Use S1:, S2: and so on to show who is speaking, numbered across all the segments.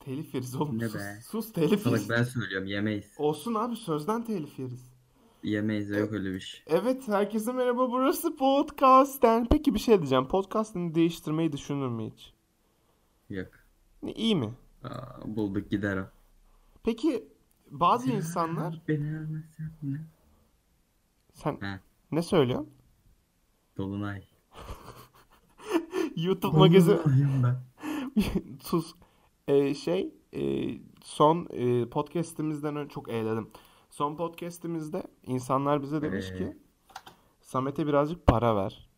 S1: Telif yeriz oğlum.
S2: Ne
S1: Sus,
S2: be?
S1: sus telif
S2: Salak
S1: yeriz.
S2: ben söylüyorum yemeyiz.
S1: Olsun abi sözden telif yeriz.
S2: Yemeyiz yok öyle bir şey.
S1: Evet herkese merhaba burası Podcast'ten. Peki bir şey diyeceğim. Podcast'ını değiştirmeyi düşünür mü hiç?
S2: Yok.
S1: Ne, İyi mi?
S2: Aa, bulduk gider o.
S1: Peki bazı insanlar
S2: Beni almasan ne?
S1: sen
S2: He.
S1: ne söylüyorsun?
S2: Dolunay.
S1: YouTube magazin
S2: Dolunayım ben.
S1: Sus. Ee, şey e, son e, podcast'imizden önce çok eğledim. Son podcast'imizde insanlar bize demiş
S2: Ee.
S1: ki Samet'e birazcık para ver.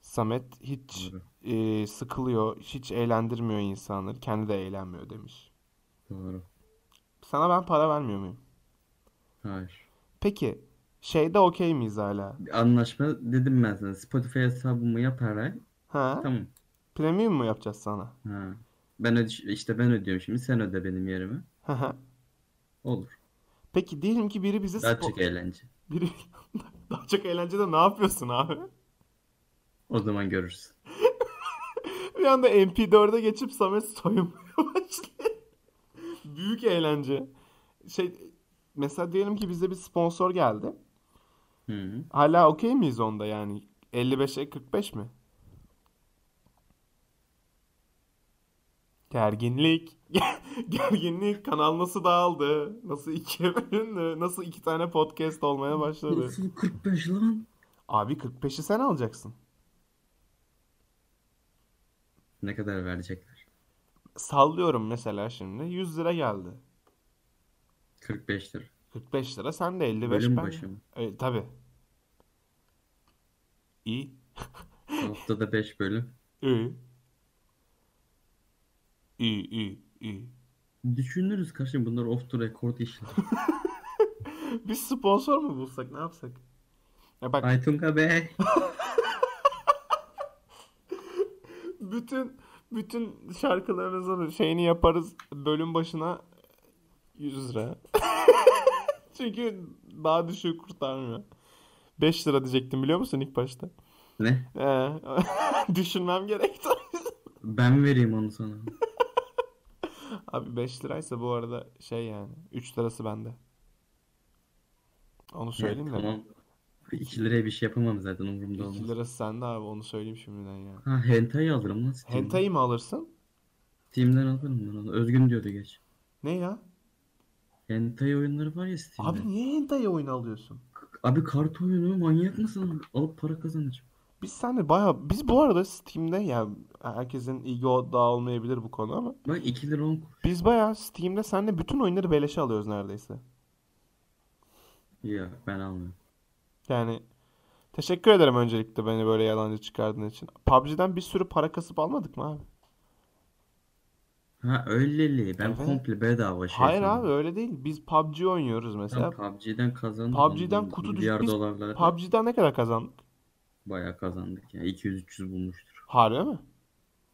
S1: Samet hiç
S2: Doğru.
S1: e, sıkılıyor, hiç eğlendirmiyor insanları. Kendi de eğlenmiyor demiş.
S2: Doğru.
S1: Sana ben para vermiyor muyum?
S2: Hayır.
S1: Peki şeyde okey miyiz hala?
S2: Anlaşma dedim ben sana. Spotify hesabımı yaparak.
S1: Ha?
S2: Tamam.
S1: Premium mu yapacağız sana?
S2: Ha. Ben öde işte ben ödüyorum şimdi. Sen öde benim yerime.
S1: Hı hı.
S2: Olur.
S1: Peki diyelim ki biri bize
S2: Daha
S1: spo-
S2: çok eğlence.
S1: biri daha çok eğlencede ne yapıyorsun abi?
S2: O zaman görürsün.
S1: Bir anda MP4'e geçip Samet soyunmaya başlıyor. Büyük eğlence. Şey mesela diyelim ki bize bir sponsor geldi.
S2: Hı -hı.
S1: Hala okey miyiz onda yani? 55'e 45 mi? Gerginlik. Gerginlik. Kanal nasıl dağıldı? Nasıl ikiye bölündü? Nasıl iki tane podcast olmaya başladı?
S2: Nasıl 45 lan?
S1: Abi 45'i sen alacaksın.
S2: Ne kadar verecekler?
S1: Sallıyorum mesela şimdi. 100 lira geldi.
S2: 45 lira.
S1: 45 lira sen de 55
S2: Bölüm
S1: ben.
S2: başı mı?
S1: E, tabii. İyi.
S2: Haftada 5 bölüm.
S1: İyi. İyi, iyi, iyi.
S2: Düşünürüz kardeşim bunlar off the record işler.
S1: Biz sponsor mu bulsak ne yapsak? Ya bak
S2: Aytunka Bey.
S1: bütün bütün şarkılarımızın şeyini yaparız bölüm başına 100 lira. Çünkü daha düşük kurtarmıyor. 5 lira diyecektim biliyor musun ilk başta?
S2: Ne?
S1: Ee, düşünmem gerekti.
S2: Ben vereyim onu sana.
S1: Abi 5 liraysa bu arada şey yani 3 lirası bende. Onu söyleyeyim de.
S2: Tamam. 2 liraya bir şey yapamam zaten umurumda
S1: 2
S2: olmaz.
S1: lirası sende abi onu söyleyeyim şimdiden ya.
S2: Ha hentai alırım lan Steam'den.
S1: Hentai mi alırsın?
S2: Steam'den alırım ben onu. Özgün diyordu geç.
S1: Ne ya?
S2: Hentai oyunları var ya Steam'de.
S1: Abi
S2: Abi,
S1: niye hentai oyun alıyorsun?
S2: kart oyunu manyak mısın? Alıp para kazanacağım.
S1: Biz seninle baya biz bu arada Steam'de ya herkesin ilgi odağı olmayabilir bu konu ama
S2: Bak 2 lira 10 kuruş.
S1: biz baya Steam'de seninle bütün oyunları beleşe alıyoruz neredeyse.
S2: Ya ben almıyorum.
S1: Yani teşekkür ederim öncelikle beni böyle yalancı çıkardığın için. PUBG'den bir sürü para kasıp almadık mı abi?
S2: Ha öyleli. Ben
S1: Evet.
S2: komple bedava şey
S1: Hayır
S2: sandım.
S1: abi öyle değil. Biz PUBG oynuyoruz mesela.
S2: Ben PUBG'den kazandım.
S1: PUBG'den
S2: Ondan
S1: kutu düz-
S2: milyar
S1: biz
S2: dolarlara
S1: PUBG'den ne kadar kazandık?
S2: bayağı kazandık ya. 200-300 bulmuştur.
S1: Harbi mi?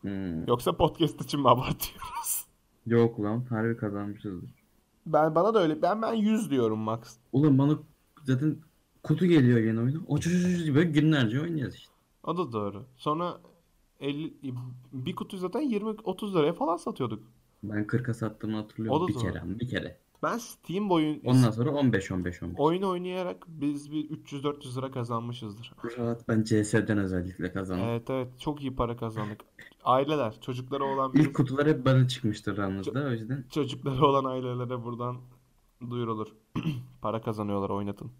S2: Hmm.
S1: Yoksa podcast için mi abartıyoruz?
S2: Yok lan harbi kazanmışızdır.
S1: Ben bana da öyle. Ben ben 100 diyorum max.
S2: Oğlum bana zaten kutu geliyor yeni oyuna. Aç aç aç aç böyle günlerce oynuyoruz işte.
S1: O da doğru. Sonra 50 bir kutu zaten 20 30 liraya falan satıyorduk.
S2: Ben 40'a sattığımı hatırlıyorum.
S1: O da
S2: bir
S1: doğru.
S2: kere ama bir kere.
S1: Ben Steam boyun
S2: Ondan sonra 15 15 15.
S1: oyun oynayarak biz bir 300 400 lira kazanmışızdır.
S2: Rahat ben CS'den özellikle kazandım.
S1: Evet evet çok iyi para kazandık. Aileler, çocukları olan
S2: İlk
S1: biz,
S2: kutular hep bana çıkmıştır yalnız da o yüzden.
S1: çocukları olan ailelere buradan duyurulur. Para kazanıyorlar oynatın.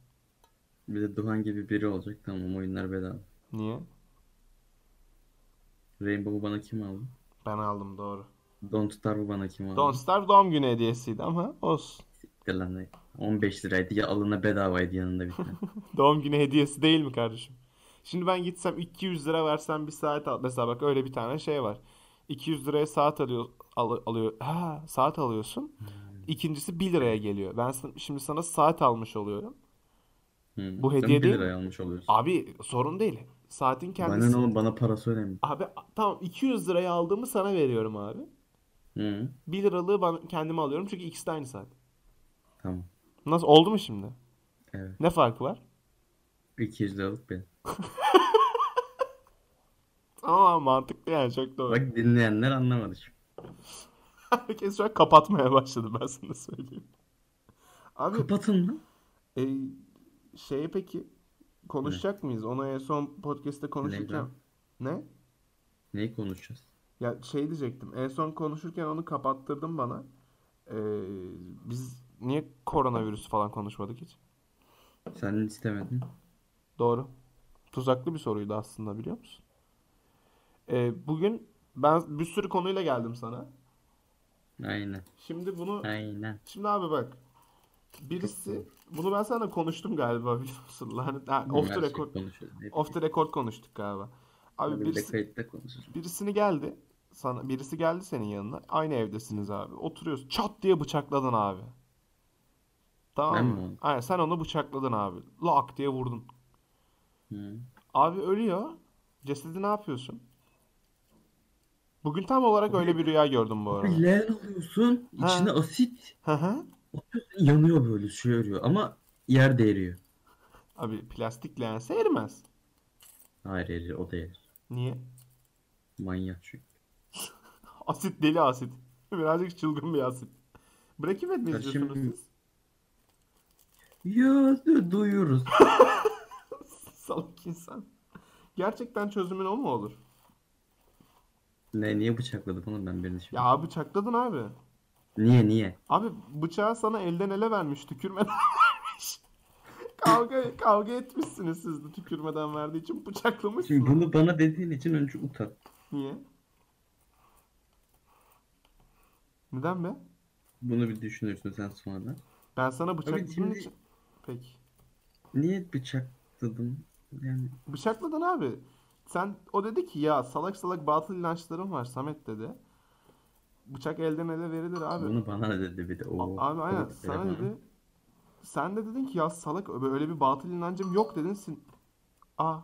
S2: Bir de Duhan gibi biri olacak tamam oyunlar bedava.
S1: Niye?
S2: Rainbow'u bana kim aldı?
S1: Ben aldım doğru.
S2: Don't Starve'u bana kim aldı?
S1: Don't Starve doğum günü hediyesiydi ama olsun.
S2: Siktir lan. 15 liraydı ya alına bedavaydı yanında bir tane.
S1: Doğum günü hediyesi değil mi kardeşim? Şimdi ben gitsem 200 lira versem bir saat al. Mesela bak öyle bir tane şey var. 200 liraya saat alıyor, al- alıyor. Ha, saat alıyorsun.
S2: Hmm.
S1: İkincisi 1 liraya geliyor. Ben san- şimdi sana saat almış oluyorum.
S2: Hı.
S1: Bu
S2: Sen
S1: hediye
S2: bir
S1: değil
S2: liraya almış oluyorsun.
S1: Abi sorun değil. Saatin
S2: Bana
S1: kendisi.
S2: ne oğlum bana parası önemli.
S1: Abi a- tamam 200 liraya aldığımı sana veriyorum abi.
S2: Hı.
S1: 1 liralığı ben kendime alıyorum çünkü ikisi de aynı saat.
S2: Tamam.
S1: Nasıl oldu mu şimdi?
S2: Evet.
S1: Ne farkı var?
S2: 200 liralık bir.
S1: Tamam mantıklı yani çok doğru.
S2: Bak dinleyenler anlamadı şimdi.
S1: Herkes şu an kapatmaya başladı ben sana söyleyeyim. Abi
S2: Kapatın mı?
S1: e, şey peki konuşacak mıyız? Onu en son podcast'te konuşurken
S2: lan?
S1: ne?
S2: Neyi konuşacağız?
S1: Ya şey diyecektim. En son konuşurken onu kapattırdın bana. Ee, biz niye koronavirüs falan konuşmadık hiç?
S2: Sen istemedin.
S1: Doğru. Tuzaklı bir soruydu aslında biliyor musun? Ee, bugün ben bir sürü konuyla geldim sana.
S2: Aynen.
S1: Şimdi bunu
S2: Aynen.
S1: Şimdi abi bak. Birisi bunu ben sana konuştum galiba biliyor musun? Lanet, ha, off the
S2: Her şey
S1: record,
S2: konuşuyoruz. Hep-
S1: off the record konuştuk galiba. Abi
S2: Bir de
S1: birisi,
S2: kayıtta konuşuruz.
S1: birisini geldi. Sana, birisi geldi senin yanına. Aynı evdesiniz abi. Oturuyorsun. Çat diye bıçakladın abi. Tamam
S2: Ben
S1: mı?
S2: mi?
S1: Aynen sen onu bıçakladın abi. Lak diye vurdun.
S2: Hı.
S1: Abi ölüyor. Cesedi ne yapıyorsun? Bugün tam olarak öyle bir rüya gördüm bu arada.
S2: Abi leğen alıyorsun. içine asit.
S1: Hı hı.
S2: Yanıyor böyle şey eriyor. Ama yer de eriyor.
S1: Abi plastik leğense erimez.
S2: Hayır erir. O da erir.
S1: Niye?
S2: Manyak çünkü.
S1: Asit deli asit. Birazcık çılgın bir asit. Breaking Bad mi
S2: Ya
S1: izliyorsunuz
S2: şimdi-
S1: siz?
S2: Ya duyuyoruz.
S1: Salak insan. Gerçekten çözümün o mu olur?
S2: ne niye bıçakladım oğlum ben birini şimdi?
S1: Ya bıçakladın abi.
S2: Niye niye?
S1: Abi bıçağı sana elden ele vermiş, tükürmeden vermiş. kavga kavga etmişsiniz siz de tükürmeden verdiği için bıçaklamışsınız.
S2: Şimdi bunu bana dediğin için önce utan.
S1: Niye? Neden be?
S2: Bunu bir düşünürsün sen sonra.
S1: Ben sana bıçakladığım
S2: şimdi-
S1: için... Peki.
S2: Niye bıçakladım? Yani
S1: Bıçakladın abi. Sen o dedi ki ya salak salak batıl inançlarım var Samet dedi. Bıçak elden ele verilir abi.
S2: bunu bana dedi bir de. Oo,
S1: A- abi aynen
S2: o
S1: sana
S2: telefon.
S1: dedi. Sen de dedin ki ya salak öyle bir batıl inancım yok dedin. Sin Aa.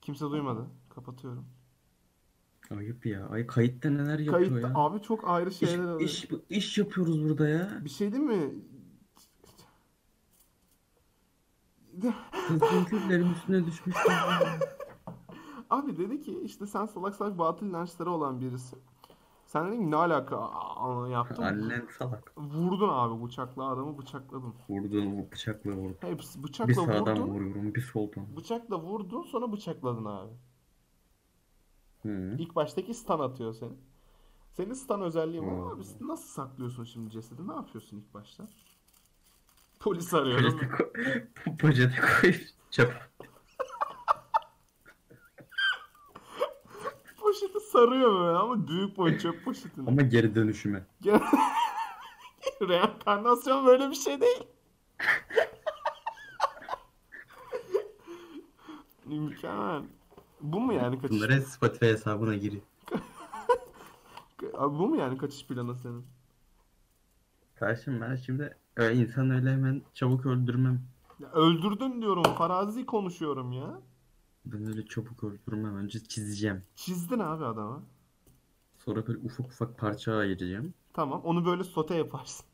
S1: Kimse duymadı. Kapatıyorum.
S2: Ayıp ya. Ay kayıtta neler yapıyor
S1: Kayıt
S2: ya.
S1: abi çok ayrı şeyler arıyor.
S2: İş, iş, iş yapıyoruz burada ya.
S1: Bir şey değil mi?
S2: Kızgın küllerin üstüne düşmüş.
S1: Abi dedi ki işte sen salak salak batıl inançları olan birisi. Sen dedin ki ne alaka Aa, yaptım.
S2: Annen salak.
S1: Vurdun abi bıçakla adamı bıçakladın.
S2: Vurdun bıçakla vurdun.
S1: Hepsi
S2: Bir
S1: bıçakla
S2: sağdan
S1: vurdun.
S2: vuruyorum bir soldan.
S1: Bıçakla vurdun sonra bıçakladın abi.
S2: Hı.
S1: İlk baştaki stun atıyor seni. Senin stun özelliği var
S2: Hmm.
S1: abi. Nasıl saklıyorsun şimdi cesedi? Ne yapıyorsun ilk başta? Polis arıyorum.
S2: Poşete koy. Poşete koy. Çap.
S1: Poşeti sarıyor böyle ama büyük boy çöp poşetini.
S2: Ama geri dönüşüme.
S1: Reenkarnasyon böyle bir şey değil. Mükemmel. Bu mu yani kaçış?
S2: Bunlara Spotify hesabına giriyor.
S1: Abi bu mu yani kaçış planı senin?
S2: Karşım ben şimdi öyle insan öyle hemen çabuk öldürmem.
S1: Ya öldürdün diyorum. Farazi konuşuyorum ya.
S2: Ben öyle çabuk öldürmem. Önce çizeceğim.
S1: Çizdin abi adama.
S2: Sonra böyle ufak ufak parçaya ayıracağım.
S1: Tamam onu böyle sote yaparsın.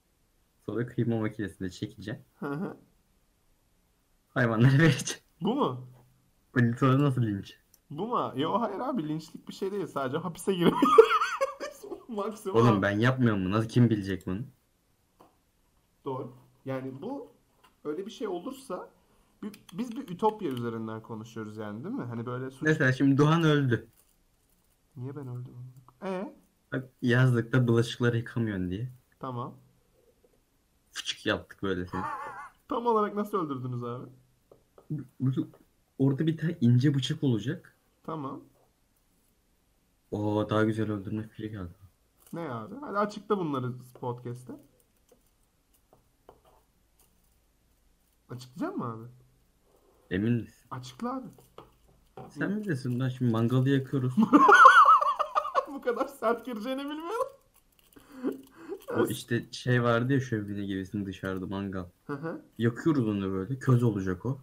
S2: Sonra kıyma makinesinde çekeceğim. Hayvanlara vereceğim.
S1: Bu mu?
S2: Böyle Sonra nasıl linç?
S1: Bu mu? Yo hayır abi linçlik bir şey değil. Sadece hapise girmek. Maksimum.
S2: Oğlum ben yapmıyorum bunu. Nasıl kim bilecek bunu?
S1: Doğru. Yani bu öyle bir şey olursa bi- biz bir ütopya üzerinden konuşuyoruz yani değil mi? Hani böyle suç.
S2: Mesela şimdi Doğan öldü.
S1: Niye ben öldüm? E
S2: Bak yazlıkta bulaşıkları yıkamıyorsun diye.
S1: tamam.
S2: Fıçık yaptık böyle seni.
S1: Tam olarak nasıl öldürdünüz abi?
S2: Böyle Orada bir tane ince bıçak olacak.
S1: Tamam.
S2: Oo daha güzel öldürme fikri geldi.
S1: Ne abi? Hadi açıkla bunları podcast'te. Açıklayacak mı abi?
S2: Emin misin?
S1: Açıkla abi.
S2: Sen bilirsin lan şimdi mangalı yakıyoruz.
S1: Bu kadar sert gireceğini bilmiyorum.
S2: o işte şey vardı ya şömine gibisini dışarıda mangal.
S1: Hı hı.
S2: Yakıyoruz onu böyle. Köz olacak o.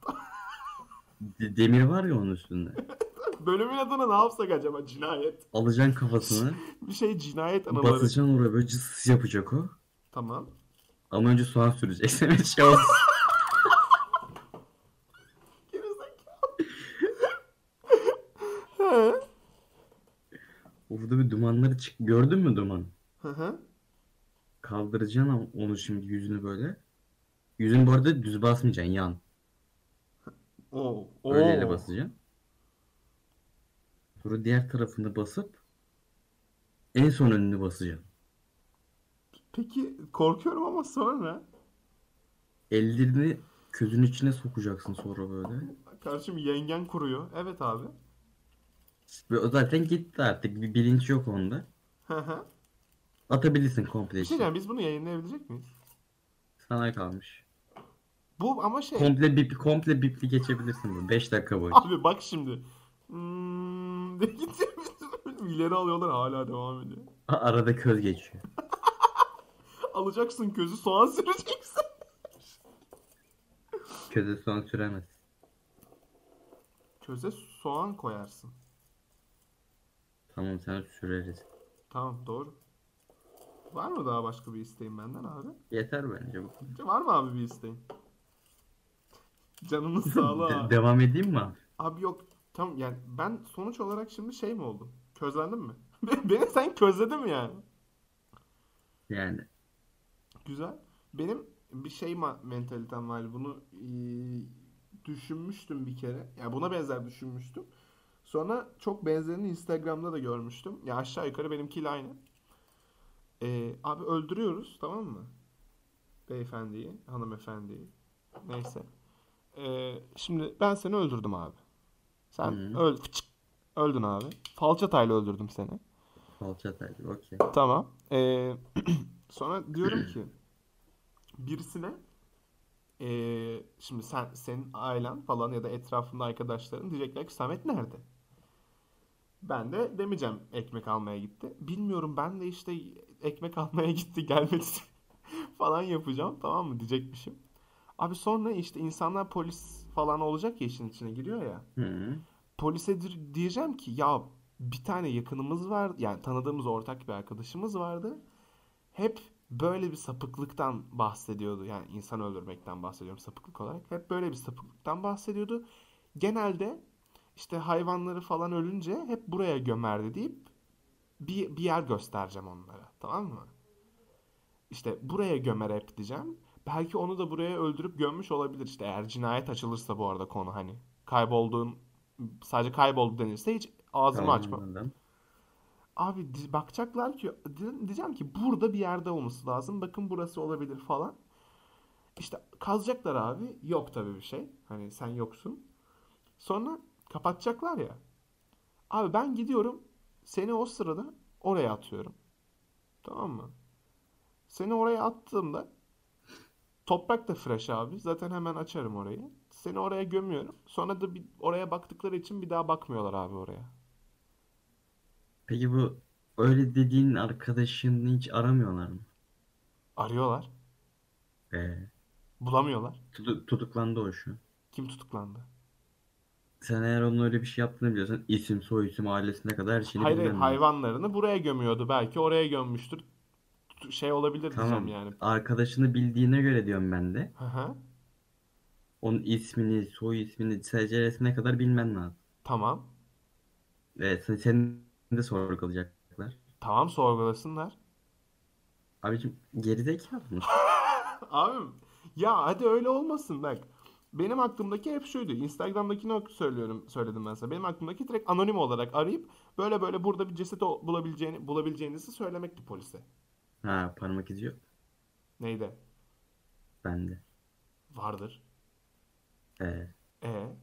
S2: De- demir var ya onun üstünde.
S1: Bölümün adına ne yapsak acaba? Cinayet.
S2: Alacaksın kafasını.
S1: Bir şey cinayet anıları.
S2: basacaksın oraya böyle cıs yapacak o.
S1: Tamam.
S2: Ama önce soğan süreceksin. Bir şey olsun.
S1: Gerizekalı. He.
S2: Orada bir dumanları çık. Gördün mü duman?
S1: Hı hı.
S2: Kaldıracaksın ama onu şimdi yüzünü böyle. Yüzünü bu arada düz basmayacaksın yan.
S1: Oo. Oo.
S2: Böyle ele basacaksın. Sonra diğer tarafını basıp en son önünü basacaksın.
S1: Peki korkuyorum ama sonra
S2: Ellerini közün içine sokacaksın sonra böyle.
S1: karşım yengen kuruyor. Evet abi.
S2: Ve o zaten gitti artık. Bir bilinç yok onda.
S1: Hı hı.
S2: Atabilirsin komple
S1: Bir şey
S2: işte.
S1: diyeceğim, biz bunu yayınlayabilecek miyiz?
S2: Sana kalmış.
S1: Bu ama şey.
S2: Komple bip komple bipli geçebilirsin bu. 5 dakika boyunca.
S1: Abi bak şimdi. Hmm, diye gidiyor. İleri alıyorlar hala devam ediyor.
S2: A- Arada köz geçiyor.
S1: Alacaksın közü soğan süreceksin.
S2: Köze son süremez.
S1: Köze soğan koyarsın.
S2: Tamam sen süreriz.
S1: Tamam doğru. Var mı daha başka bir isteğin benden abi?
S2: Yeter bence bu.
S1: Var mı abi bir isteğin? Canının sağlığı
S2: De-
S1: abi.
S2: devam edeyim mi? abi?
S1: Abi yok. Tamam yani ben sonuç olarak şimdi şey mi oldum? Közlendim mi? Beni sen közledin mi yani?
S2: Yani
S1: Güzel. Benim bir şey ma- mentalitem var. Bunu eee, düşünmüştüm bir kere. Ya buna benzer düşünmüştüm. Sonra çok benzerini Instagram'da da görmüştüm. Ya aşağı yukarı benimkiyle aynı. Eee, abi öldürüyoruz tamam mı? Beyefendiyi, hanımefendiyi. Neyse. Eee, şimdi ben seni öldürdüm abi. Sen
S2: Hı.
S1: öl fıçık, öldün abi. Falçatayla öldürdüm seni.
S2: falça tercih. Okey.
S1: Tamam. Ee, sonra diyorum ki birisine ee, şimdi sen senin ailen falan ya da etrafında arkadaşların diyecekler ki Samet nerede? Ben de demeyeceğim ekmek almaya gitti. Bilmiyorum ben de işte ekmek almaya gitti gelmedi falan yapacağım tamam mı diyecekmişim. Abi sonra işte insanlar polis falan olacak ya işin içine giriyor ya
S2: Hı.
S1: polise dir- diyeceğim ki ya bir tane yakınımız var yani tanıdığımız ortak bir arkadaşımız vardı. Hep böyle bir sapıklıktan bahsediyordu. Yani insan öldürmekten bahsediyorum sapıklık olarak. Hep böyle bir sapıklıktan bahsediyordu. Genelde işte hayvanları falan ölünce hep buraya gömerdi deyip bir, bir yer göstereceğim onlara. Tamam mı? İşte buraya gömer hep diyeceğim. Belki onu da buraya öldürüp gömmüş olabilir. İşte eğer cinayet açılırsa bu arada konu hani kaybolduğun sadece kayboldu denirse hiç ağzımı
S2: Tamam
S1: açmam.
S2: anladım.
S1: Abi di- bakacaklar ki di- diyeceğim ki burada bir yerde olması lazım. Bakın burası olabilir falan. İşte kazacaklar abi. Yok tabii bir şey. Hani sen yoksun. Sonra kapatacaklar ya. Abi ben gidiyorum. Seni o sırada oraya atıyorum. Tamam mı? Seni oraya attığımda toprak da fresh abi. Zaten hemen açarım orayı. Seni oraya gömüyorum. Sonra da bir, oraya baktıkları için bir daha bakmıyorlar abi oraya.
S2: Peki bu öyle dediğin arkadaşını hiç aramıyorlar mı?
S1: Arıyorlar.
S2: Ee,
S1: Bulamıyorlar.
S2: tutu- tutuklandı o şu. an.
S1: Kim tutuklandı?
S2: Sen eğer onun öyle bir şey yaptığını biliyorsan isim, soy isim, ailesine kadar her şeyini
S1: Hayır hayır,
S2: bilmen lazım.
S1: hayvanlarını buraya gömüyordu belki oraya gömmüştür. T- Şey olabilir diyeceğim
S2: Tamam.
S1: yani.
S2: Arkadaşını bildiğine göre diyorum ben de.
S1: Hı hı.
S2: Onun ismini, soy ismini, seceresine kadar bilmen lazım.
S1: Tamam.
S2: Evet, sen- seni de sorgulayacaklar.
S1: Tamam sorgulasınlar.
S2: Abicim gerizekalı mı?
S1: Abim ya hadi öyle olmasın bak. Benim aklımdaki hep şuydu. Instagram'dakini ok- söylüyorum söyledim ben sana. Benim aklımdaki direkt anonim olarak arayıp böyle böyle burada bir ceset o- bulabileceğini bulabileceğinizi söylemekti polise.
S2: Ha parmak izi yok
S1: Neydi?
S2: bende.
S1: Vardır.
S2: Ee,
S1: E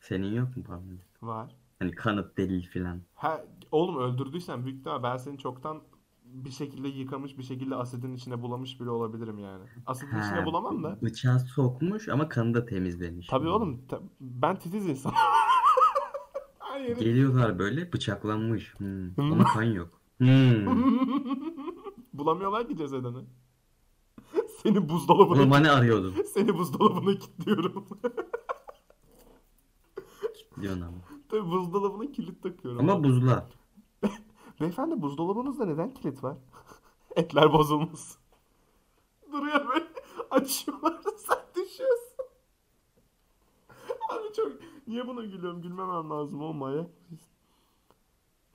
S2: senin yok mu parmak izi?
S1: var.
S2: Hani kanıt delil filan.
S1: Ha, oğlum öldürdüysen büyük ihtimal ben seni çoktan bir şekilde yıkamış, bir şekilde asidin içine bulamış bile olabilirim yani. Asidin içine
S2: Ha,
S1: bulamam da.
S2: Bıçağı sokmuş ama kanı da temizlemiş. Hmm.
S1: Tabii oğlum ta- ben titiz insan. Her yeri.
S2: Geliyorlar böyle bıçaklanmış. Hmm,
S1: Hmm.
S2: Ama kan yok. Hmm.
S1: Bulamıyorlar ki cesedini. Seni buzdolabına,
S2: Oğlum hani arıyordun
S1: seni buzdolabına kilitliyorum.
S2: diyorsun ama.
S1: Tabii buzdolabına kilit takıyorum.
S2: Ama buzla.
S1: Beyefendi buzdolabınızda neden kilit var? Etler bozulmasın. Duruyor böyle. Açıyorlar sen düşüyorsun. Abi çok... Niye buna gülüyorum? Gülmemem lazım olma ya.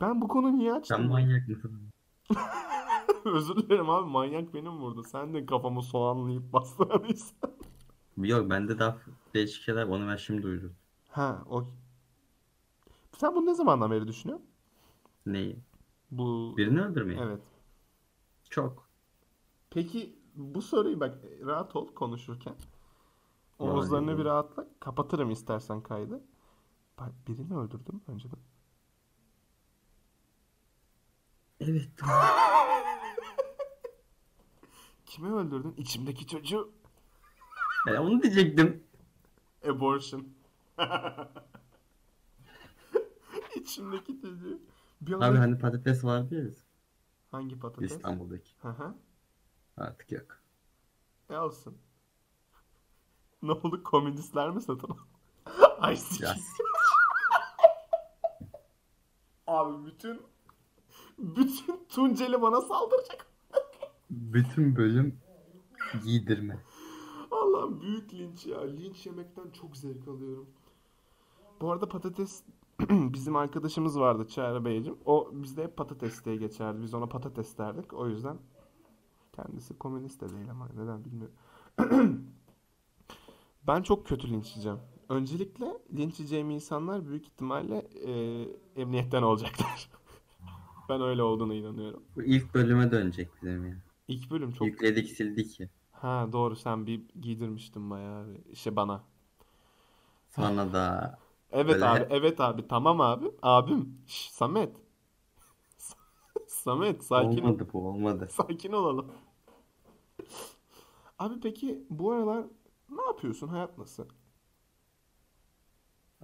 S1: Ben bu konuyu niye
S2: Sen
S1: açtım?
S2: manyak mısın?
S1: Özür dilerim abi manyak benim burada. Sen de kafamı soğanlayıp bastıran insan.
S2: Yok bende daha değişik şeyler var, onu ben şimdi duydum.
S1: Ha o. Sen bunu ne zamandan beri düşünüyorsun?
S2: Neyi?
S1: Bu
S2: Birini öldürmeyi.
S1: evet.
S2: Çok.
S1: Peki bu soruyu bak rahat ol konuşurken.
S2: Vay
S1: Omuzlarını
S2: be.
S1: bir rahatla. Kapatırım istersen kaydı. Bak birini öldürdüm önceden.
S2: Evet.
S1: Kimi öldürdün? İçimdeki çocuğu.
S2: Ben E, onu diyecektim.
S1: Abortion. İçimdeki çocuğu. Bir anda
S2: Abi hani patates vardı ya biz-
S1: hangi patates?
S2: İstanbul'daki.
S1: Hı hı.
S2: Artık yok.
S1: E alsın. Ne oldu komünistler mi satın aldı? Ay
S2: Ya
S1: sikeyim.
S2: s-
S1: Abi bütün bütün Tunceli bana saldıracak.
S2: bütün bölüm giydirme.
S1: Allah'ım büyük linç ya. Linç yemekten çok zevk alıyorum. Bu arada patates bizim arkadaşımız vardı Çağrı Beyciğim. O bizde hep patates diye geçerdi. Biz ona patates derdik. O yüzden kendisi komünist de değil ama neden bilmiyorum. ben çok kötü linç yiyeceğim. Öncelikle linç yiyeceğim insanlar büyük ihtimalle e, emniyetten olacaklar. ben öyle olduğuna inanıyorum.
S2: Bu ilk bölüme dönecek bizim ya.
S1: İlk bölüm çok
S2: Yükledik sildik ya.
S1: Ha doğru sen bir giydirmiştin bayağı bir şey bana.
S2: Sonra da
S1: Evet
S2: Böyle-
S1: abi evet abi tamam abi abim Şş, Samet Samet sakin ol
S2: olmadı bu olmadı.
S1: sakin olalım. Abi peki bu aralar ne yapıyorsun hayat nasıl?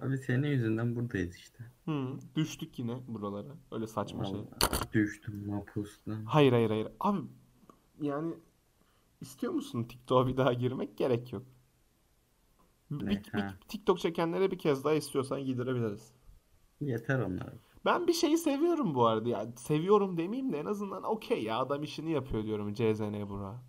S2: Abi senin yüzünden buradayız işte.
S1: Hı, düştük yine buralara öyle saçma şey.
S2: Vallahi düştüm mapusla.
S1: Hayır hayır hayır abi yani istiyor musun TikTok'a bir daha girmek gerek yok. Bir-
S2: Ne?
S1: bir- bir-
S2: Ha.
S1: TikTok çekenlere bir kez daha istiyorsan giderebiliriz.
S2: Yeter onlar.
S1: Ben bir şeyi seviyorum bu arada. Ya seviyorum demeyeyim de en azından okey ya adam işini yapıyor diyorum CZN Burak'a.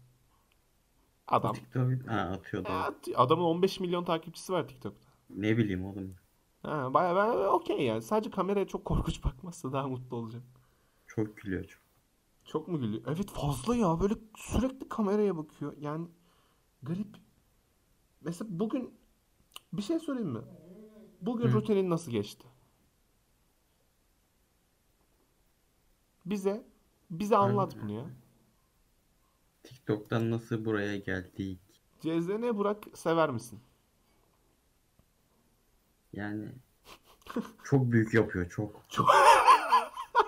S1: Adam.
S2: TikTok ha, atıyor
S1: E,
S2: da.
S1: at- Adamın 15 milyon takipçisi var TikTok'ta.
S2: Ne bileyim oğlum.
S1: Ha, baya ben okey yani. Sadece kameraya çok korkunç bakmazsa daha mutlu olacağım.
S2: Çok gülüyor çok.
S1: Çok mu gülüyor? Evet fazla ya. Böyle sürekli kameraya bakıyor. Yani garip. Mesela bugün bir şey söyleyeyim mi? Bugün
S2: Hı.
S1: rutinin nasıl geçti? Bize bize anlat bunu ya.
S2: TikTok'tan nasıl buraya geldik?
S1: CZN Burak sever misin?
S2: Yani çok büyük yapıyor çok.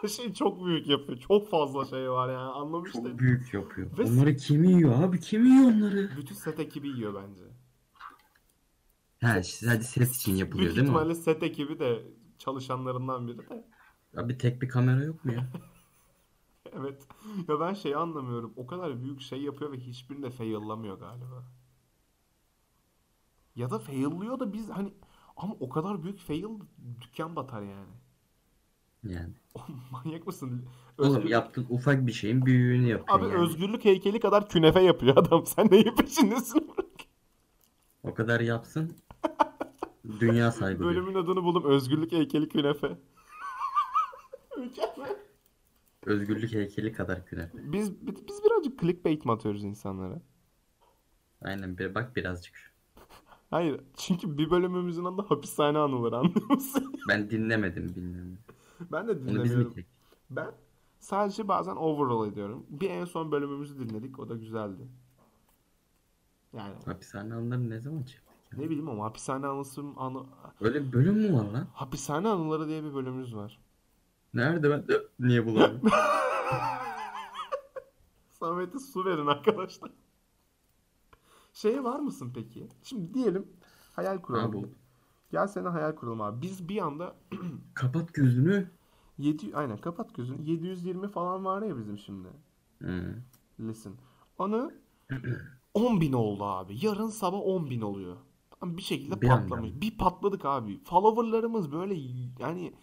S1: Her şey çok büyük yapıyor. Çok fazla şey var yani anlamıştım.
S2: Çok büyük yapıyor.
S1: Ve-
S2: Onları kim yiyor abi? Kim yiyor onları?
S1: Bütün set ekibi yiyor bence.
S2: Ha sadece ses için yapılıyor
S1: Büyük
S2: değil mi?
S1: ihtimalle set ekibi de çalışanlarından biri de.
S2: Abi tek bir kamera yok mu ya?
S1: Evet. Ya ben şeyi anlamıyorum. O kadar büyük şey yapıyor ve hiçbirini de fail'lamıyor galiba. Ya da fail'lıyor da biz hani ama o kadar büyük fail dükkan batar yani.
S2: Yani.
S1: Oğlum manyak mısın?
S2: Oğlum
S1: Özgür-
S2: yaptığın ufak bir şeyin büyüğünü yapıyorsun
S1: Abi
S2: yani.
S1: özgürlük heykeli kadar künefe yapıyor adam. Sen neyin peşindesin?
S2: O kadar yapsın. Dünya saygı duyar.
S1: Bölümün adını buldum. Özgürlük heykeli künefe. Mükemmel.
S2: Özgürlük heykeli kadar güler.
S1: Biz biz birazcık clickbait mi atıyoruz insanlara?
S2: Aynen bir bak birazcık. şu.
S1: Hayır. Çünkü bir bölümümüzün adı hapishane anıları anlıyor musun?
S2: Ben dinlemedim bilmiyorum.
S1: Ben de
S2: Onu biz mi
S1: dinlemiyorum.
S2: tek?
S1: Ben sadece bazen overall ediyorum. Bir en son bölümümüzü dinledik. O da güzeldi. Yani
S2: Hapishane anıları ne zaman çektik?
S1: ne bileyim ama hapishane anısı anı
S2: Öyle bir bölüm mü var lan?
S1: hapishane anıları diye bir bölümümüz var.
S2: Nerede ben de niye bulamıyorum?
S1: Samet'e su verin arkadaşlar. Şeye var mısın peki? Şimdi diyelim hayal kuralım.
S2: Abi oldu.
S1: Gel seni hayal kuralım abi. Biz bir anda
S2: Kapat gözünü.
S1: 7 aynen kapat gözünü. 720 falan var ya bizim şimdi.
S2: Hı.
S1: Listen. Onu 10.000 oldu abi. Yarın sabah 10.000 oluyor. Ama Bir şekilde
S2: Bir anda
S1: patlamış.
S2: mı?
S1: Bir patladık abi. Followerlarımız böyle yani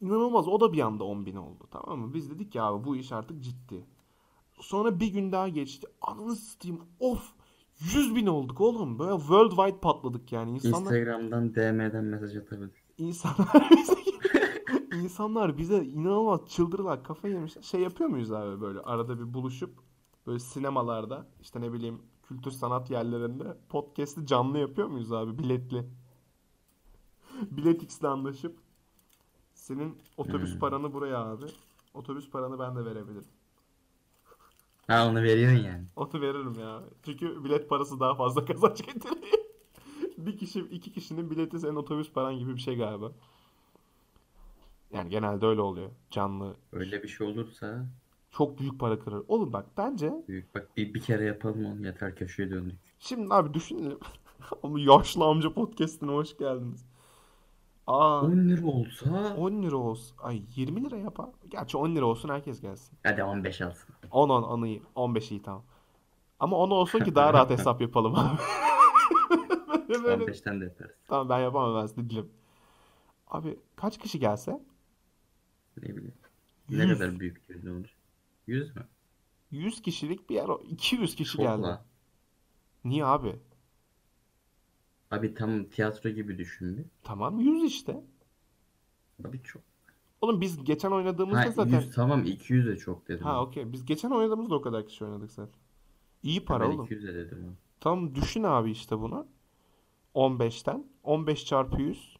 S1: inanılmaz. O da bir anda 10.000 oldu tamam mı? Biz dedik ya abi bu iş artık ciddi. Sonra bir gün daha geçti. Ananı satayım of 100.000 olduk oğlum. Böyle worldwide patladık yani. İnsanlar
S2: Instagram'dan DM'den mesaj atabilir.
S1: İnsanlar bize insanlar bize inanılmaz çıldırlar kafayı yemiş. Şey yapıyor muyuz abi böyle arada bir buluşup böyle sinemalarda işte ne bileyim kültür sanat yerlerinde podcast'i canlı yapıyor muyuz abi biletli? Bilet X'le anlaşıp senin otobüs
S2: Hmm.
S1: paranı buraya abi. Otobüs paranı ben de verebilirim.
S2: Ha onu veriyorsun yani.
S1: Otu veririm ya. Çünkü bilet parası daha fazla kazanç getiriyor. Bir kişi, iki kişinin bileti senin otobüs paran gibi bir şey galiba. Yani genelde öyle oluyor. Canlı.
S2: Öyle bir şey olursa
S1: Çok büyük para kırır. Oğlum bak bence
S2: büyük bak bir, bir kere yapalım onu yeter köşeye döndük.
S1: şimdi abi düşünelim. Ama yaşlı amca podcastine hoş geldiniz. Aa
S2: 10 lira olsa
S1: 10 lira olsun. Ay 20 lira yap ha. Gerçi 10 lira olsun herkes gelsin.
S2: hadi 15 alsın.
S1: 10 10 10 iyi. 15 iyi tamam. Ama 10 olsun ki daha rahat hesap yapalım abi. Böyle böyle
S2: 15'ten de yaparız.
S1: Tamam ben yapamam ben size dilim. Abi kaç kişi gelse?
S2: Ne bileyim. Ne
S1: 100,
S2: kadar büyük düğün olur? 100 mü?
S1: 100 kişilik bir yer. o- 200 kişi
S2: Çok
S1: geldi.
S2: la.
S1: Niye abi?
S2: Abi tam tiyatro gibi düşün bir.
S1: Tamam 100 işte.
S2: Abi çok.
S1: Oğlum biz geçen
S2: Ha
S1: oynadığımızda zaten...
S2: 100 tamam 200 de çok dedim.
S1: Ha
S2: ben.
S1: okey. Biz geçen oynadığımızda o kadar kişi oynadık zaten. İyi para
S2: Ben
S1: oğlum.
S2: 200 de dedim. ben.
S1: Tam düşün abi işte bunu. 15'ten. 15 çarpı 100.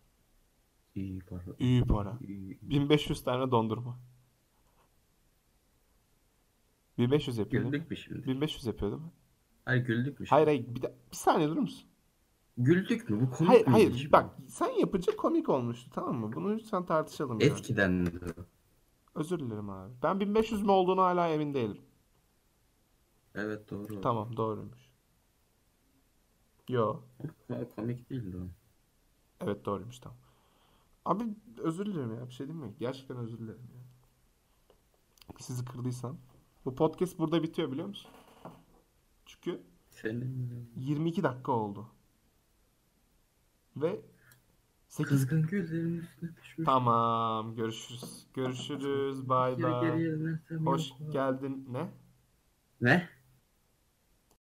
S2: İyi para.
S1: İyi para.
S2: İyi.
S1: 1500 tane dondurma. 1500 yapıyor değil mi?
S2: Güldük mü şimdi?
S1: 1500 yapıyor değil mi?
S2: Hayır güldük mü şimdi?
S1: Hayır hayır. Bir, de, bir saniye durur musun?
S2: Güldük mü? Bu komik
S1: Hayır
S2: miydi
S1: hayır
S2: şimdi?
S1: bak sen yapıcı komik olmuştu tamam mı? Bunu lütfen tartışalım yani.
S2: Eskiden miydi o?
S1: Özür dilerim abi. Ben 1500 mü olduğunu hala emin değilim.
S2: Evet doğru.
S1: Tamam doğruymuş. Yo.
S2: Ama komik değildi o.
S1: Evet doğruymuş tamam. Abi özür dilerim ya bir şey değil mi? Gerçekten özür dilerim ya. Sizi kırdıysam. Bu podcast burada bitiyor biliyor musun? Çünkü
S2: Senin
S1: 22 dakika oldu. Ve 8
S2: kızgın gözlerinin üstüne düşmüş.
S1: Tamam görüşürüz. Görüşürüz.
S2: Bir
S1: Bay
S2: kere
S1: bay.
S2: geriye dönersem
S1: Hoş
S2: yok.
S1: geldin. Ne?
S2: Ne?